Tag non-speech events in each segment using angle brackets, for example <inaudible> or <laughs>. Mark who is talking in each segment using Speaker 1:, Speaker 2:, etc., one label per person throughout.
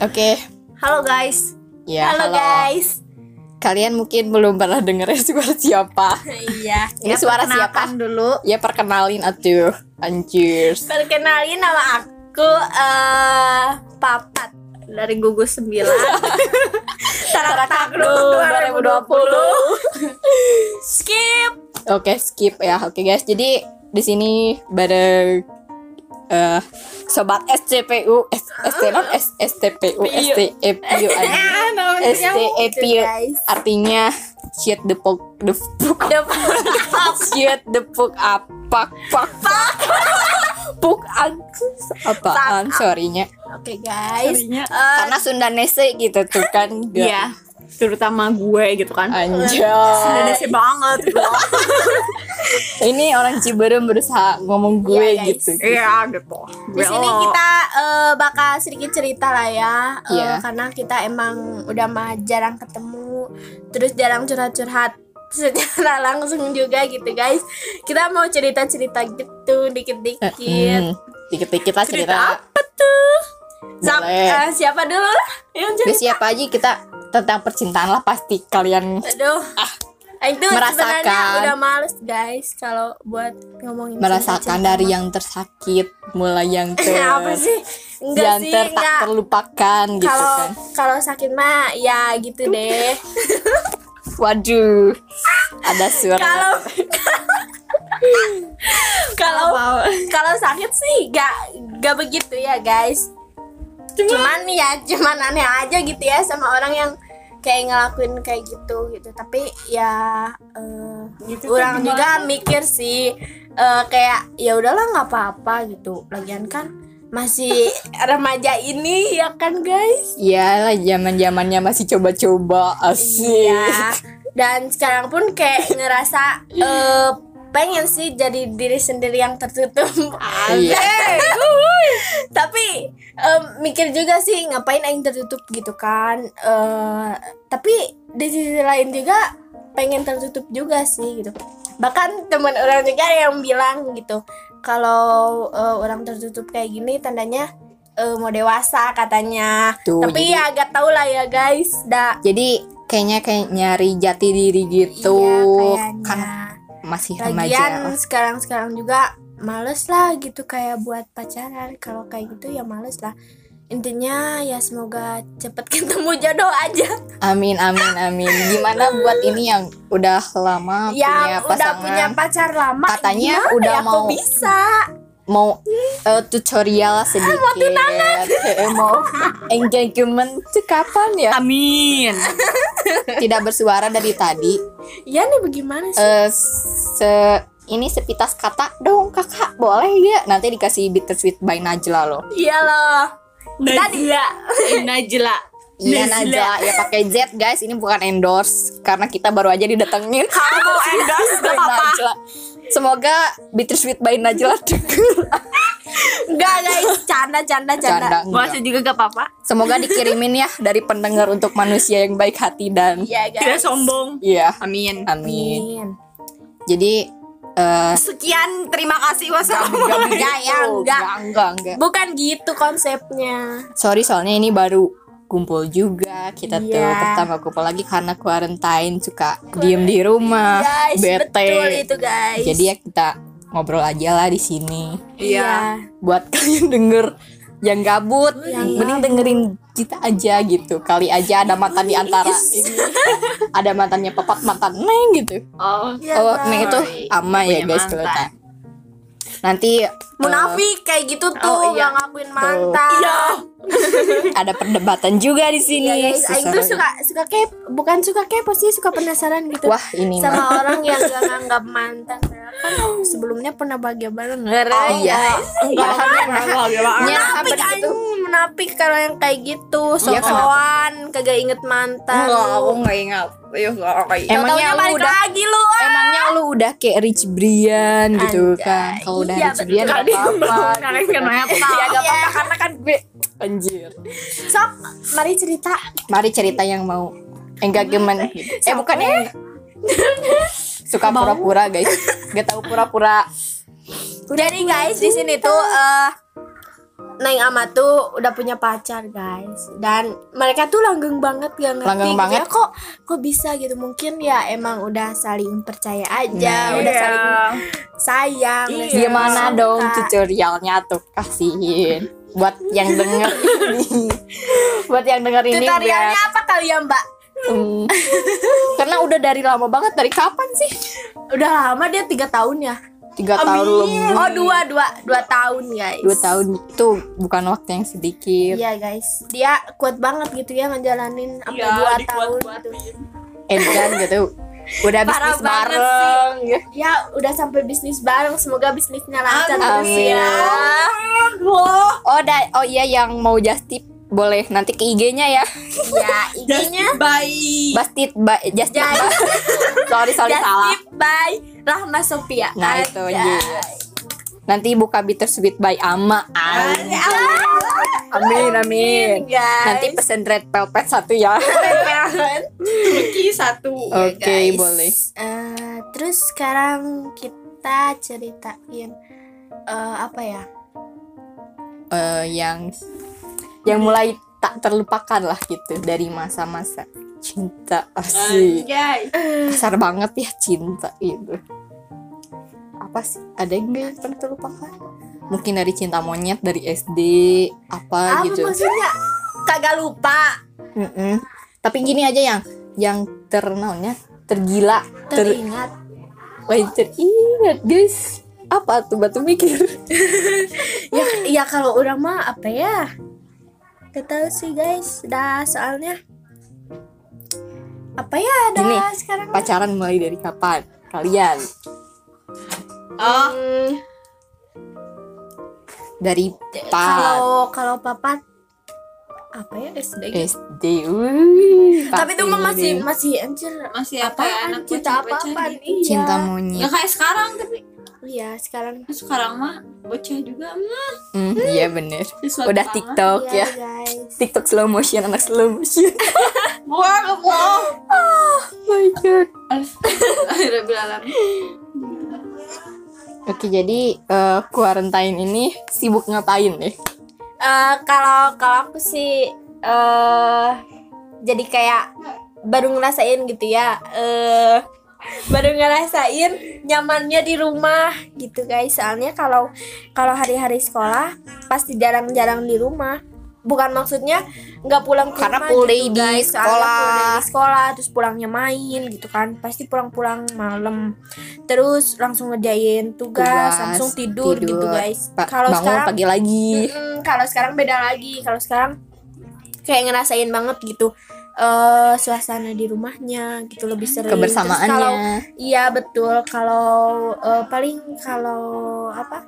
Speaker 1: Oke,
Speaker 2: Halo guys.
Speaker 1: ya
Speaker 3: halo,
Speaker 1: halo. <laughs>
Speaker 3: guys.
Speaker 1: Kalian mungkin belum pernah denger <laughs> suara siapa.
Speaker 3: iya.
Speaker 1: Ini
Speaker 2: Ya,
Speaker 1: suara
Speaker 2: perkenalkan
Speaker 1: siapa?
Speaker 2: dulu.
Speaker 1: Ya perkenalin atuh. Anjir.
Speaker 3: Perkenalin nama aku eh Papat
Speaker 2: Dari gugus
Speaker 1: <laughs>
Speaker 2: 9.
Speaker 3: Tarak
Speaker 2: Takluk
Speaker 3: 2020. Skip.
Speaker 1: <laughs> Oke, skip ya. Oke guys, jadi di sini bareng eh sobat SCPU S, ST
Speaker 3: <gasps>
Speaker 1: non S, STPU STEPU
Speaker 3: <laughs>
Speaker 1: anjing. STEPU
Speaker 3: guys.
Speaker 1: artinya shit the fuck the fuck
Speaker 3: The Papat.
Speaker 1: Shit the fuck up Pak pak pak
Speaker 3: <laughs>
Speaker 1: Puk anjing. Apaan sorrynya
Speaker 3: Oke guys.
Speaker 2: Sorry-nya.
Speaker 3: Eh,
Speaker 1: Karena Sundanese gitu tuh kan Gak-
Speaker 2: Iya. Terutama gue gitu kan.
Speaker 1: Anjay
Speaker 2: Indonesia banget.
Speaker 1: Ini orang Ciberem berusaha ngomong gue
Speaker 3: Iya, guys.
Speaker 1: gitu
Speaker 2: Iya gitu.
Speaker 3: di sini kita eh, bakal sedikit cerita lah ya Eh,
Speaker 1: Iya.
Speaker 3: karena kita emang udah mah jarang ketemu terus jarang curhat-curhat <laughs> secara langsung juga gitu guys kita mau cerita-cerita gitu dikit-dikit
Speaker 1: Hmm, Dikit-dikit lah cerita,
Speaker 2: Cerita
Speaker 3: apa tuh Zap-
Speaker 1: Boleh.
Speaker 3: eh, siapa dulu lah yang
Speaker 1: Udah
Speaker 3: cerita
Speaker 1: siapa aja kita tentang percintaan lah pasti kalian
Speaker 3: aduh Ah, itu
Speaker 1: Ah, Merasakan.
Speaker 3: sebenarnya udah males guys kalau buat ngomongin
Speaker 1: merasakan
Speaker 3: cerita-cerita. <laughs>
Speaker 1: dari yang tersakit mulai yang ter
Speaker 3: apa sih enggak
Speaker 1: yang
Speaker 3: sih
Speaker 1: ter tak
Speaker 3: enggak
Speaker 1: terlupakan gitu
Speaker 3: kalau
Speaker 1: kan
Speaker 3: kalau sakit mah ya gitu
Speaker 2: <laughs>
Speaker 3: deh
Speaker 1: waduh ada suara
Speaker 2: <laughs>
Speaker 3: kalau kalau
Speaker 2: Apa?
Speaker 3: kalau sakit sih gak gak begitu ya guys cuman ya cuman aneh aja gitu ya sama orang yang kayak ngelakuin kayak gitu gitu tapi ya eh,
Speaker 2: Gitu tuh
Speaker 3: orang
Speaker 2: gimana?
Speaker 3: juga mikir sih eh, kayak ya udahlah nggak apa-apa gitu lagian kan masih <laughs> remaja ini ya kan guys
Speaker 1: Iyalah zaman zamannya Iya masih coba-coba asik.
Speaker 3: Iya. Dan sekarang pun kayak ngerasa eh, pengen sih jadi diri sendiri yang tertutup. <laughs>
Speaker 1: Iya.
Speaker 3: Tapi em, mikir juga sih ngapain aing tertutup gitu kan. Eh, tapi di sisi lain juga pengen tertutup juga sih gitu. Bahkan teman orang juga ada yang bilang gitu. Kalau eh, orang tertutup kayak gini tandanya eh, mau dewasa katanya.
Speaker 1: Tuh,
Speaker 3: Tapi
Speaker 1: jadi-
Speaker 3: ya agak tau lah ya guys. Da,
Speaker 1: Jadi kayaknya kayak nyari jati diri gitu.
Speaker 3: Iya,
Speaker 1: kan
Speaker 3: kayaknya.
Speaker 1: masih
Speaker 3: Lagian
Speaker 1: remaja.
Speaker 3: sekarang-sekarang juga males lah gitu kayak buat pacaran. Kalau kayak gitu ya males lah. Intinya ya semoga cepet <laughs> ketemu jodoh aja.
Speaker 1: Amin amin amin. Gimana buat ini yang udah lama punya
Speaker 3: ya udah
Speaker 1: pasangan?
Speaker 3: punya pacar lama.
Speaker 1: Katanya
Speaker 3: gimana
Speaker 1: udah
Speaker 3: ya, kok
Speaker 1: mau-
Speaker 3: bisa.
Speaker 1: Mau eh, tutorial sedikit. Mau <laughs> mau engagement tuh kapan ya?
Speaker 2: Amin.
Speaker 1: Tidak bersuara dari tadi.
Speaker 3: Ya nih bagaimana sih?
Speaker 1: Eh, se ini sepitas kata dong kakak boleh ya nanti dikasih bittersweet by Najla loh
Speaker 3: Iya loh.
Speaker 2: Najla. Najla.
Speaker 1: Iya Najla ya pakai Z guys ini bukan endorse karena kita baru aja didatengin <laughs>
Speaker 2: Kamu endorse
Speaker 1: by Najla. Semoga Bittersweet by Najla <laughs> denger.
Speaker 3: Enggak guys, canda canda canda.
Speaker 1: Canda enggak.
Speaker 2: Puasa juga gak apa-apa.
Speaker 1: Semoga dikirimin ya dari pendengar untuk manusia yang baik hati dan
Speaker 3: Iya guys.
Speaker 2: Tidak sombong.
Speaker 1: iya
Speaker 2: Amin.
Speaker 1: amin.
Speaker 3: Amin.
Speaker 1: Jadi eh
Speaker 2: Sekian, terima kasih. Wassalamualaikum.
Speaker 3: Enggak ya, enggak.
Speaker 1: Oh, enggak enggak.
Speaker 3: Bukan gitu konsepnya.
Speaker 1: Sorry soalnya ini baru kumpul juga kita tuh
Speaker 3: Iya.
Speaker 1: pertama kumpul lagi karena quarantine suka diem di rumah Ah,
Speaker 3: guys,
Speaker 1: bete
Speaker 3: betul itu guys.
Speaker 1: jadi ya kita ngobrol aja lah di sini
Speaker 2: Iya.
Speaker 1: buat <laughs> kalian denger yang gabut
Speaker 3: Yang
Speaker 1: mending dengerin kita aja gitu kali aja ada mantan
Speaker 3: Oh,
Speaker 1: di antara
Speaker 3: iya.
Speaker 1: ini ada mantannya papat mantan neng gitu
Speaker 2: Oh.
Speaker 3: Iya,
Speaker 1: oh
Speaker 3: guys.
Speaker 1: neng itu ama ya
Speaker 2: Punya
Speaker 1: guys
Speaker 2: mantan.
Speaker 1: kalau tak. nanti eh,
Speaker 3: Munafik kayak gitu tuh,
Speaker 2: Oh, iya.
Speaker 3: nggak ngakuin mantan.
Speaker 1: Iya, ada perdebatan juga di
Speaker 3: Iya
Speaker 1: sini
Speaker 3: guys, Aing tuh suka suka kepo, bukan suka kepo sih, suka penasaran gitu.
Speaker 1: wah ini mah
Speaker 3: sama orang yang gak nganggap mantan Padahal kan sebelumnya pernah bahagia bareng
Speaker 1: Oh, iya gitu.
Speaker 2: Enggak, enggak, enggak.
Speaker 3: menapik anjing menapik kalau yang kayak gitu
Speaker 1: Iya, kenapa?
Speaker 3: sok-sokan kagak inget mantan
Speaker 2: Enggak, aku
Speaker 3: lu
Speaker 2: nggak ingat. Iya, enggak, enggak ingat.
Speaker 1: Emangnya
Speaker 3: Tau-taunya
Speaker 1: lu
Speaker 3: balik
Speaker 1: udah-
Speaker 3: lagi lu ah.
Speaker 1: emangnya lu udah kayak Rich Brian gitu
Speaker 3: Anjay.
Speaker 1: kan kalau udah
Speaker 3: Iya,
Speaker 1: Rich Brian
Speaker 3: betul.
Speaker 1: gak apa-apa
Speaker 2: Kalian
Speaker 1: gitu kan. Ya,
Speaker 2: kenapa?
Speaker 1: gak
Speaker 3: Iya.
Speaker 1: apa-apa karena kan gue anjir
Speaker 3: sok mari cerita
Speaker 1: mari cerita yang mau engagement eh bukan yang suka pura-pura
Speaker 3: <laughs>
Speaker 1: guys gak tahu pura-pura
Speaker 3: Jadi guys di sini tuh eh Neng Ama tuh udah punya pacar guys dan mereka tuh langgeng banget gak ngerti
Speaker 1: Langgeng
Speaker 3: gitu
Speaker 1: banget.
Speaker 3: ya. kok kok bisa gitu mungkin ya emang udah saling percaya
Speaker 1: Nah.
Speaker 3: aja udah
Speaker 2: Iya.
Speaker 3: saling sayang udah
Speaker 2: Iya.
Speaker 3: saling
Speaker 1: Gimana
Speaker 3: suka.
Speaker 1: dong tutorialnya tuh kasihin buat yang denger
Speaker 3: <laughs>
Speaker 1: ini. buat yang denger ini biar
Speaker 3: tutorialnya apa kali ya mbak
Speaker 1: Hmm. karena udah dari lama banget dari kapan sih?
Speaker 3: udah lama dia tiga tahun ya
Speaker 1: Tiga tahun lebih.
Speaker 3: oh dua dua dua tahun guys
Speaker 1: Dua tahun itu bukan waktu yang sedikit.
Speaker 3: Iya guys, dia kuat banget gitu ya ngejalanin sampai
Speaker 2: Iya,
Speaker 3: dua tahun
Speaker 2: dikuat-kuatin.
Speaker 3: gitu.
Speaker 1: Edan gitu. Udah
Speaker 3: Parah
Speaker 1: bisnis
Speaker 3: banget sih.
Speaker 1: bareng. ya.
Speaker 3: Ya udah sampai bisnis bareng, semoga bisnisnya lancar terus
Speaker 1: Amin.
Speaker 3: ya.
Speaker 2: Loh.
Speaker 1: Oh, da- oh iya yang mau just tip boleh nanti ke IG-nya ya.
Speaker 3: <laughs> Ya, IG-nya
Speaker 2: Bye.
Speaker 1: Bastit ba- just tip.
Speaker 3: Just
Speaker 1: <laughs> sorry sorry salah.
Speaker 3: Justip by Rahma Sophia.
Speaker 1: Nah, itu,
Speaker 3: Anjay.
Speaker 1: yes. Nanti buka bittersweet by Ama. Ay.
Speaker 3: Anjay. Amin,
Speaker 1: Amin amin.
Speaker 3: guys. <laughs>
Speaker 1: Nanti pesen red velvet satu ya.
Speaker 3: Keren.
Speaker 2: Turki satu.
Speaker 1: Oke,
Speaker 3: Guys,
Speaker 1: boleh.
Speaker 3: eh, terus sekarang kita ceritain eh, apa ya?
Speaker 1: Eh, yang yang mulai tak terlupakan lah gitu dari masa-masa cinta asik.
Speaker 2: Guys.
Speaker 1: kasar banget ya cinta itu apa sih ada yang gak yang pernah terlupakan mungkin dari cinta monyet dari SD apa,
Speaker 3: Apa
Speaker 1: gitu
Speaker 3: maksudnya? Kagak lupa.
Speaker 1: Mm-mm. tapi gini aja yang yang ternaunnya tergila ter
Speaker 3: Teringat.
Speaker 1: lain teringat guys apa tuh batu mikir
Speaker 3: ya ya kalau orang mah apa ya gak tahu sih guys dah soalnya apa ya dah
Speaker 1: Gini,
Speaker 3: sekarang
Speaker 1: pacaran mulai dari kapan kalian
Speaker 2: Oh,
Speaker 3: Hmm,
Speaker 1: dari pas
Speaker 3: Eh, kalau kalau papat apa ya
Speaker 1: Eh,
Speaker 3: SD
Speaker 1: SD Wih, pasti
Speaker 3: tapi itu mah masih
Speaker 1: nih.
Speaker 3: masih anjir
Speaker 2: masih apa ya
Speaker 3: apaan
Speaker 2: anak
Speaker 3: Iya, cinta apa
Speaker 2: bocah-bocah
Speaker 3: apaan
Speaker 2: gitu.
Speaker 3: iya
Speaker 1: cinta monyet
Speaker 2: Nggak kayak sekarang tapi
Speaker 3: iya sekarang
Speaker 2: sekarang mah bocah juga.
Speaker 1: Mm,
Speaker 2: Hmm,
Speaker 1: iya bener
Speaker 2: sesuatu
Speaker 1: udah
Speaker 2: banget.
Speaker 1: TikTok
Speaker 3: iya
Speaker 1: ya
Speaker 3: guys
Speaker 1: TikTok slow motion anak slow motion.
Speaker 2: Wah, Allah.
Speaker 1: Oh my god.
Speaker 2: <laughs> Rabbil alamin.
Speaker 1: Oke jadi eh quarantine ini sibuk ngapain nih?
Speaker 3: Eh, kalau kalau aku sih eh jadi kayak baru ngerasain gitu ya eh baru ngerasain nyamannya di rumah gitu guys soalnya kalau kalau hari-hari sekolah pasti jarang-jarang di rumah bukan maksudnya nggak pulang ke
Speaker 1: Karena
Speaker 3: rumah
Speaker 1: full
Speaker 3: gitu,
Speaker 1: day di
Speaker 3: guys. Soalnya full day
Speaker 1: sekolah.
Speaker 3: di sekolah terus pulangnya main gitu kan pasti pulang-pulang malam terus langsung ngerjain tugas,
Speaker 1: Tugas,
Speaker 3: langsung tidur, gitu
Speaker 1: tidur.
Speaker 3: guys
Speaker 1: Pa-
Speaker 3: kalau
Speaker 1: bangun
Speaker 3: sekarang Hmm,
Speaker 1: pagi lagi.
Speaker 3: Mm-mm, kalau sekarang beda lagi. Kalau sekarang kayak ngerasain banget gitu eh suasana di rumahnya gitu lebih sering. Terus kalau-
Speaker 1: Kebersamaannya.
Speaker 3: Iya betul. Kalau eh, paling kalau apa?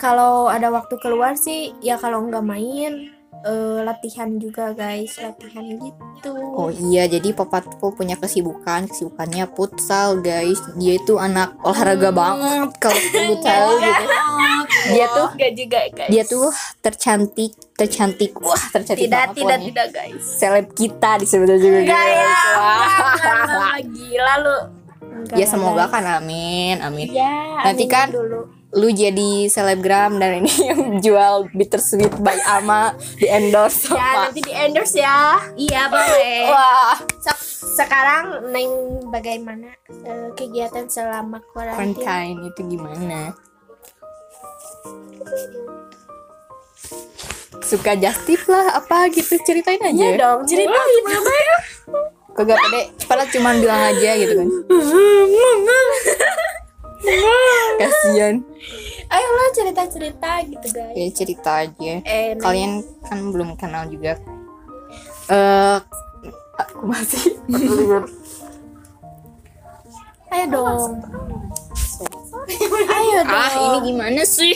Speaker 3: Kalau ada waktu keluar sih ya kalau nggak main eh, latihan juga guys latihan gitu.
Speaker 1: Oh iya jadi Papa Tupo punya kesibukan kesibukannya futsal guys. Dia itu anak olahraga
Speaker 3: Hmm.
Speaker 1: banget
Speaker 3: <laughs>
Speaker 1: kalau perlu tahu
Speaker 3: Iya.
Speaker 1: gitu. Dia tuh
Speaker 3: Nggak juga guys.
Speaker 1: dia tuh tercantik tercantik wah tercantik banget
Speaker 3: tidak tidak
Speaker 1: pokoknya.
Speaker 3: tidak guys.
Speaker 1: seleb kita di sebenarnya juga gitu.
Speaker 3: Enggak
Speaker 1: guys.
Speaker 3: ya.
Speaker 1: Wah.
Speaker 3: enggak, enggak, Gila lu.
Speaker 1: <laughs>
Speaker 3: Enggak
Speaker 1: Ya
Speaker 3: lah,
Speaker 1: semoga
Speaker 3: guys.
Speaker 1: kan amin amin.
Speaker 3: Ya,
Speaker 1: Nanti
Speaker 3: aminin
Speaker 1: kan-
Speaker 3: dulu.
Speaker 1: lu jadi selebgram dan ini <laughs> yang jual bittersweet by Ama di endorse
Speaker 3: Ya nanti di endorse ya. Iya boleh.
Speaker 1: Wah,
Speaker 3: sekarang neng bagaimana eh, kegiatan selama karantina?
Speaker 1: quarantine itu gimana? Suka justip lah apa gitu ceritain
Speaker 3: Iya
Speaker 1: aja.
Speaker 3: dong. Cerita
Speaker 1: Kagak pede, padahal cuma bilang aja gitu
Speaker 3: <laughs>
Speaker 1: kan. Kasian.
Speaker 3: Ayo lah cerita cerita gitu guys.
Speaker 1: Ya cerita aja.
Speaker 3: Eh, Neng,
Speaker 1: Kalian kan belum kenal juga. Eh aku masih
Speaker 3: ayo dong. ayo dong.
Speaker 1: ah ini gimana sih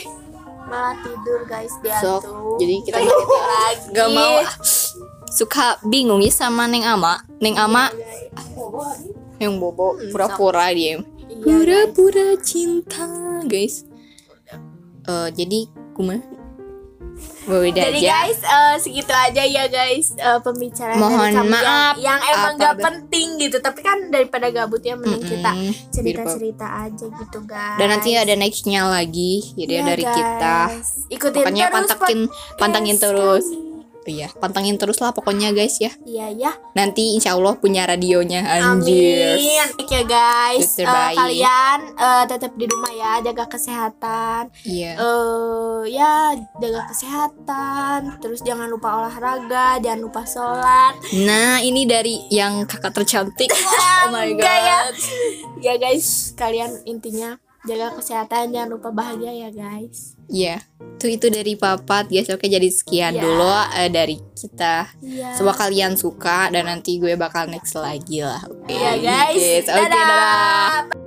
Speaker 3: Malah tidur guys dia
Speaker 1: Sok,
Speaker 3: tuh.
Speaker 1: jadi kita Iya.
Speaker 3: Tidur lagi.
Speaker 1: gak mau suka bingung ya sama neng ama neng ama
Speaker 3: Iya.
Speaker 1: yang bobo
Speaker 3: Hmm,
Speaker 1: pura-pura dia pura-pura cinta guys Eh jadi kumaha Udah
Speaker 3: Jadi
Speaker 1: aja.
Speaker 3: guys eh, segitu aja ya guys eh, pembicaraan dari
Speaker 1: Mohon
Speaker 3: Samyang
Speaker 1: maaf
Speaker 3: yang emang
Speaker 1: apa
Speaker 3: gak
Speaker 1: ber-
Speaker 3: penting gitu tapi kan daripada gabut ya
Speaker 1: Mm-mm.
Speaker 3: mending kita
Speaker 1: Biar
Speaker 3: cerita
Speaker 1: po-
Speaker 3: cerita aja gitu guys
Speaker 1: Dan nanti ada nextnya lagi, jadi
Speaker 3: Iya,
Speaker 1: dari kita.
Speaker 3: guys. ikutin
Speaker 1: Pokoknya
Speaker 3: terus
Speaker 1: pantakin, pantangin
Speaker 3: podcast
Speaker 1: terus.
Speaker 3: kami.
Speaker 1: Iya, pantangin terus lah pokoknya guys ya.
Speaker 3: iya ya
Speaker 1: Nanti insya Allah punya radionya
Speaker 3: amin
Speaker 1: anjir.
Speaker 3: Oke ya guys
Speaker 1: Itu
Speaker 3: Eh,
Speaker 1: terbaik.
Speaker 3: kalian eh, tetap di rumah ya jaga kesehatan
Speaker 1: Iya.
Speaker 3: eh ya jaga kesehatan terus jangan lupa olahraga jangan lupa sholat
Speaker 1: Nah, ini dari yang kakak tercantik. Oh my
Speaker 3: <laughs> Enggak ya.
Speaker 1: god.
Speaker 3: <laughs> ya guys kalian intinya jaga kesehatan jangan lupa bahagia ya guys
Speaker 1: Iya. Itu itu dari Papat guys. Oke, jadi sekian
Speaker 3: Iya.
Speaker 1: dulu eh, dari kita.
Speaker 3: iya
Speaker 1: Semoga kalian suka dan nanti gue bakal next lagi lah. Oke.
Speaker 3: ya guys
Speaker 1: Yes, Oke, dadah.
Speaker 3: dadah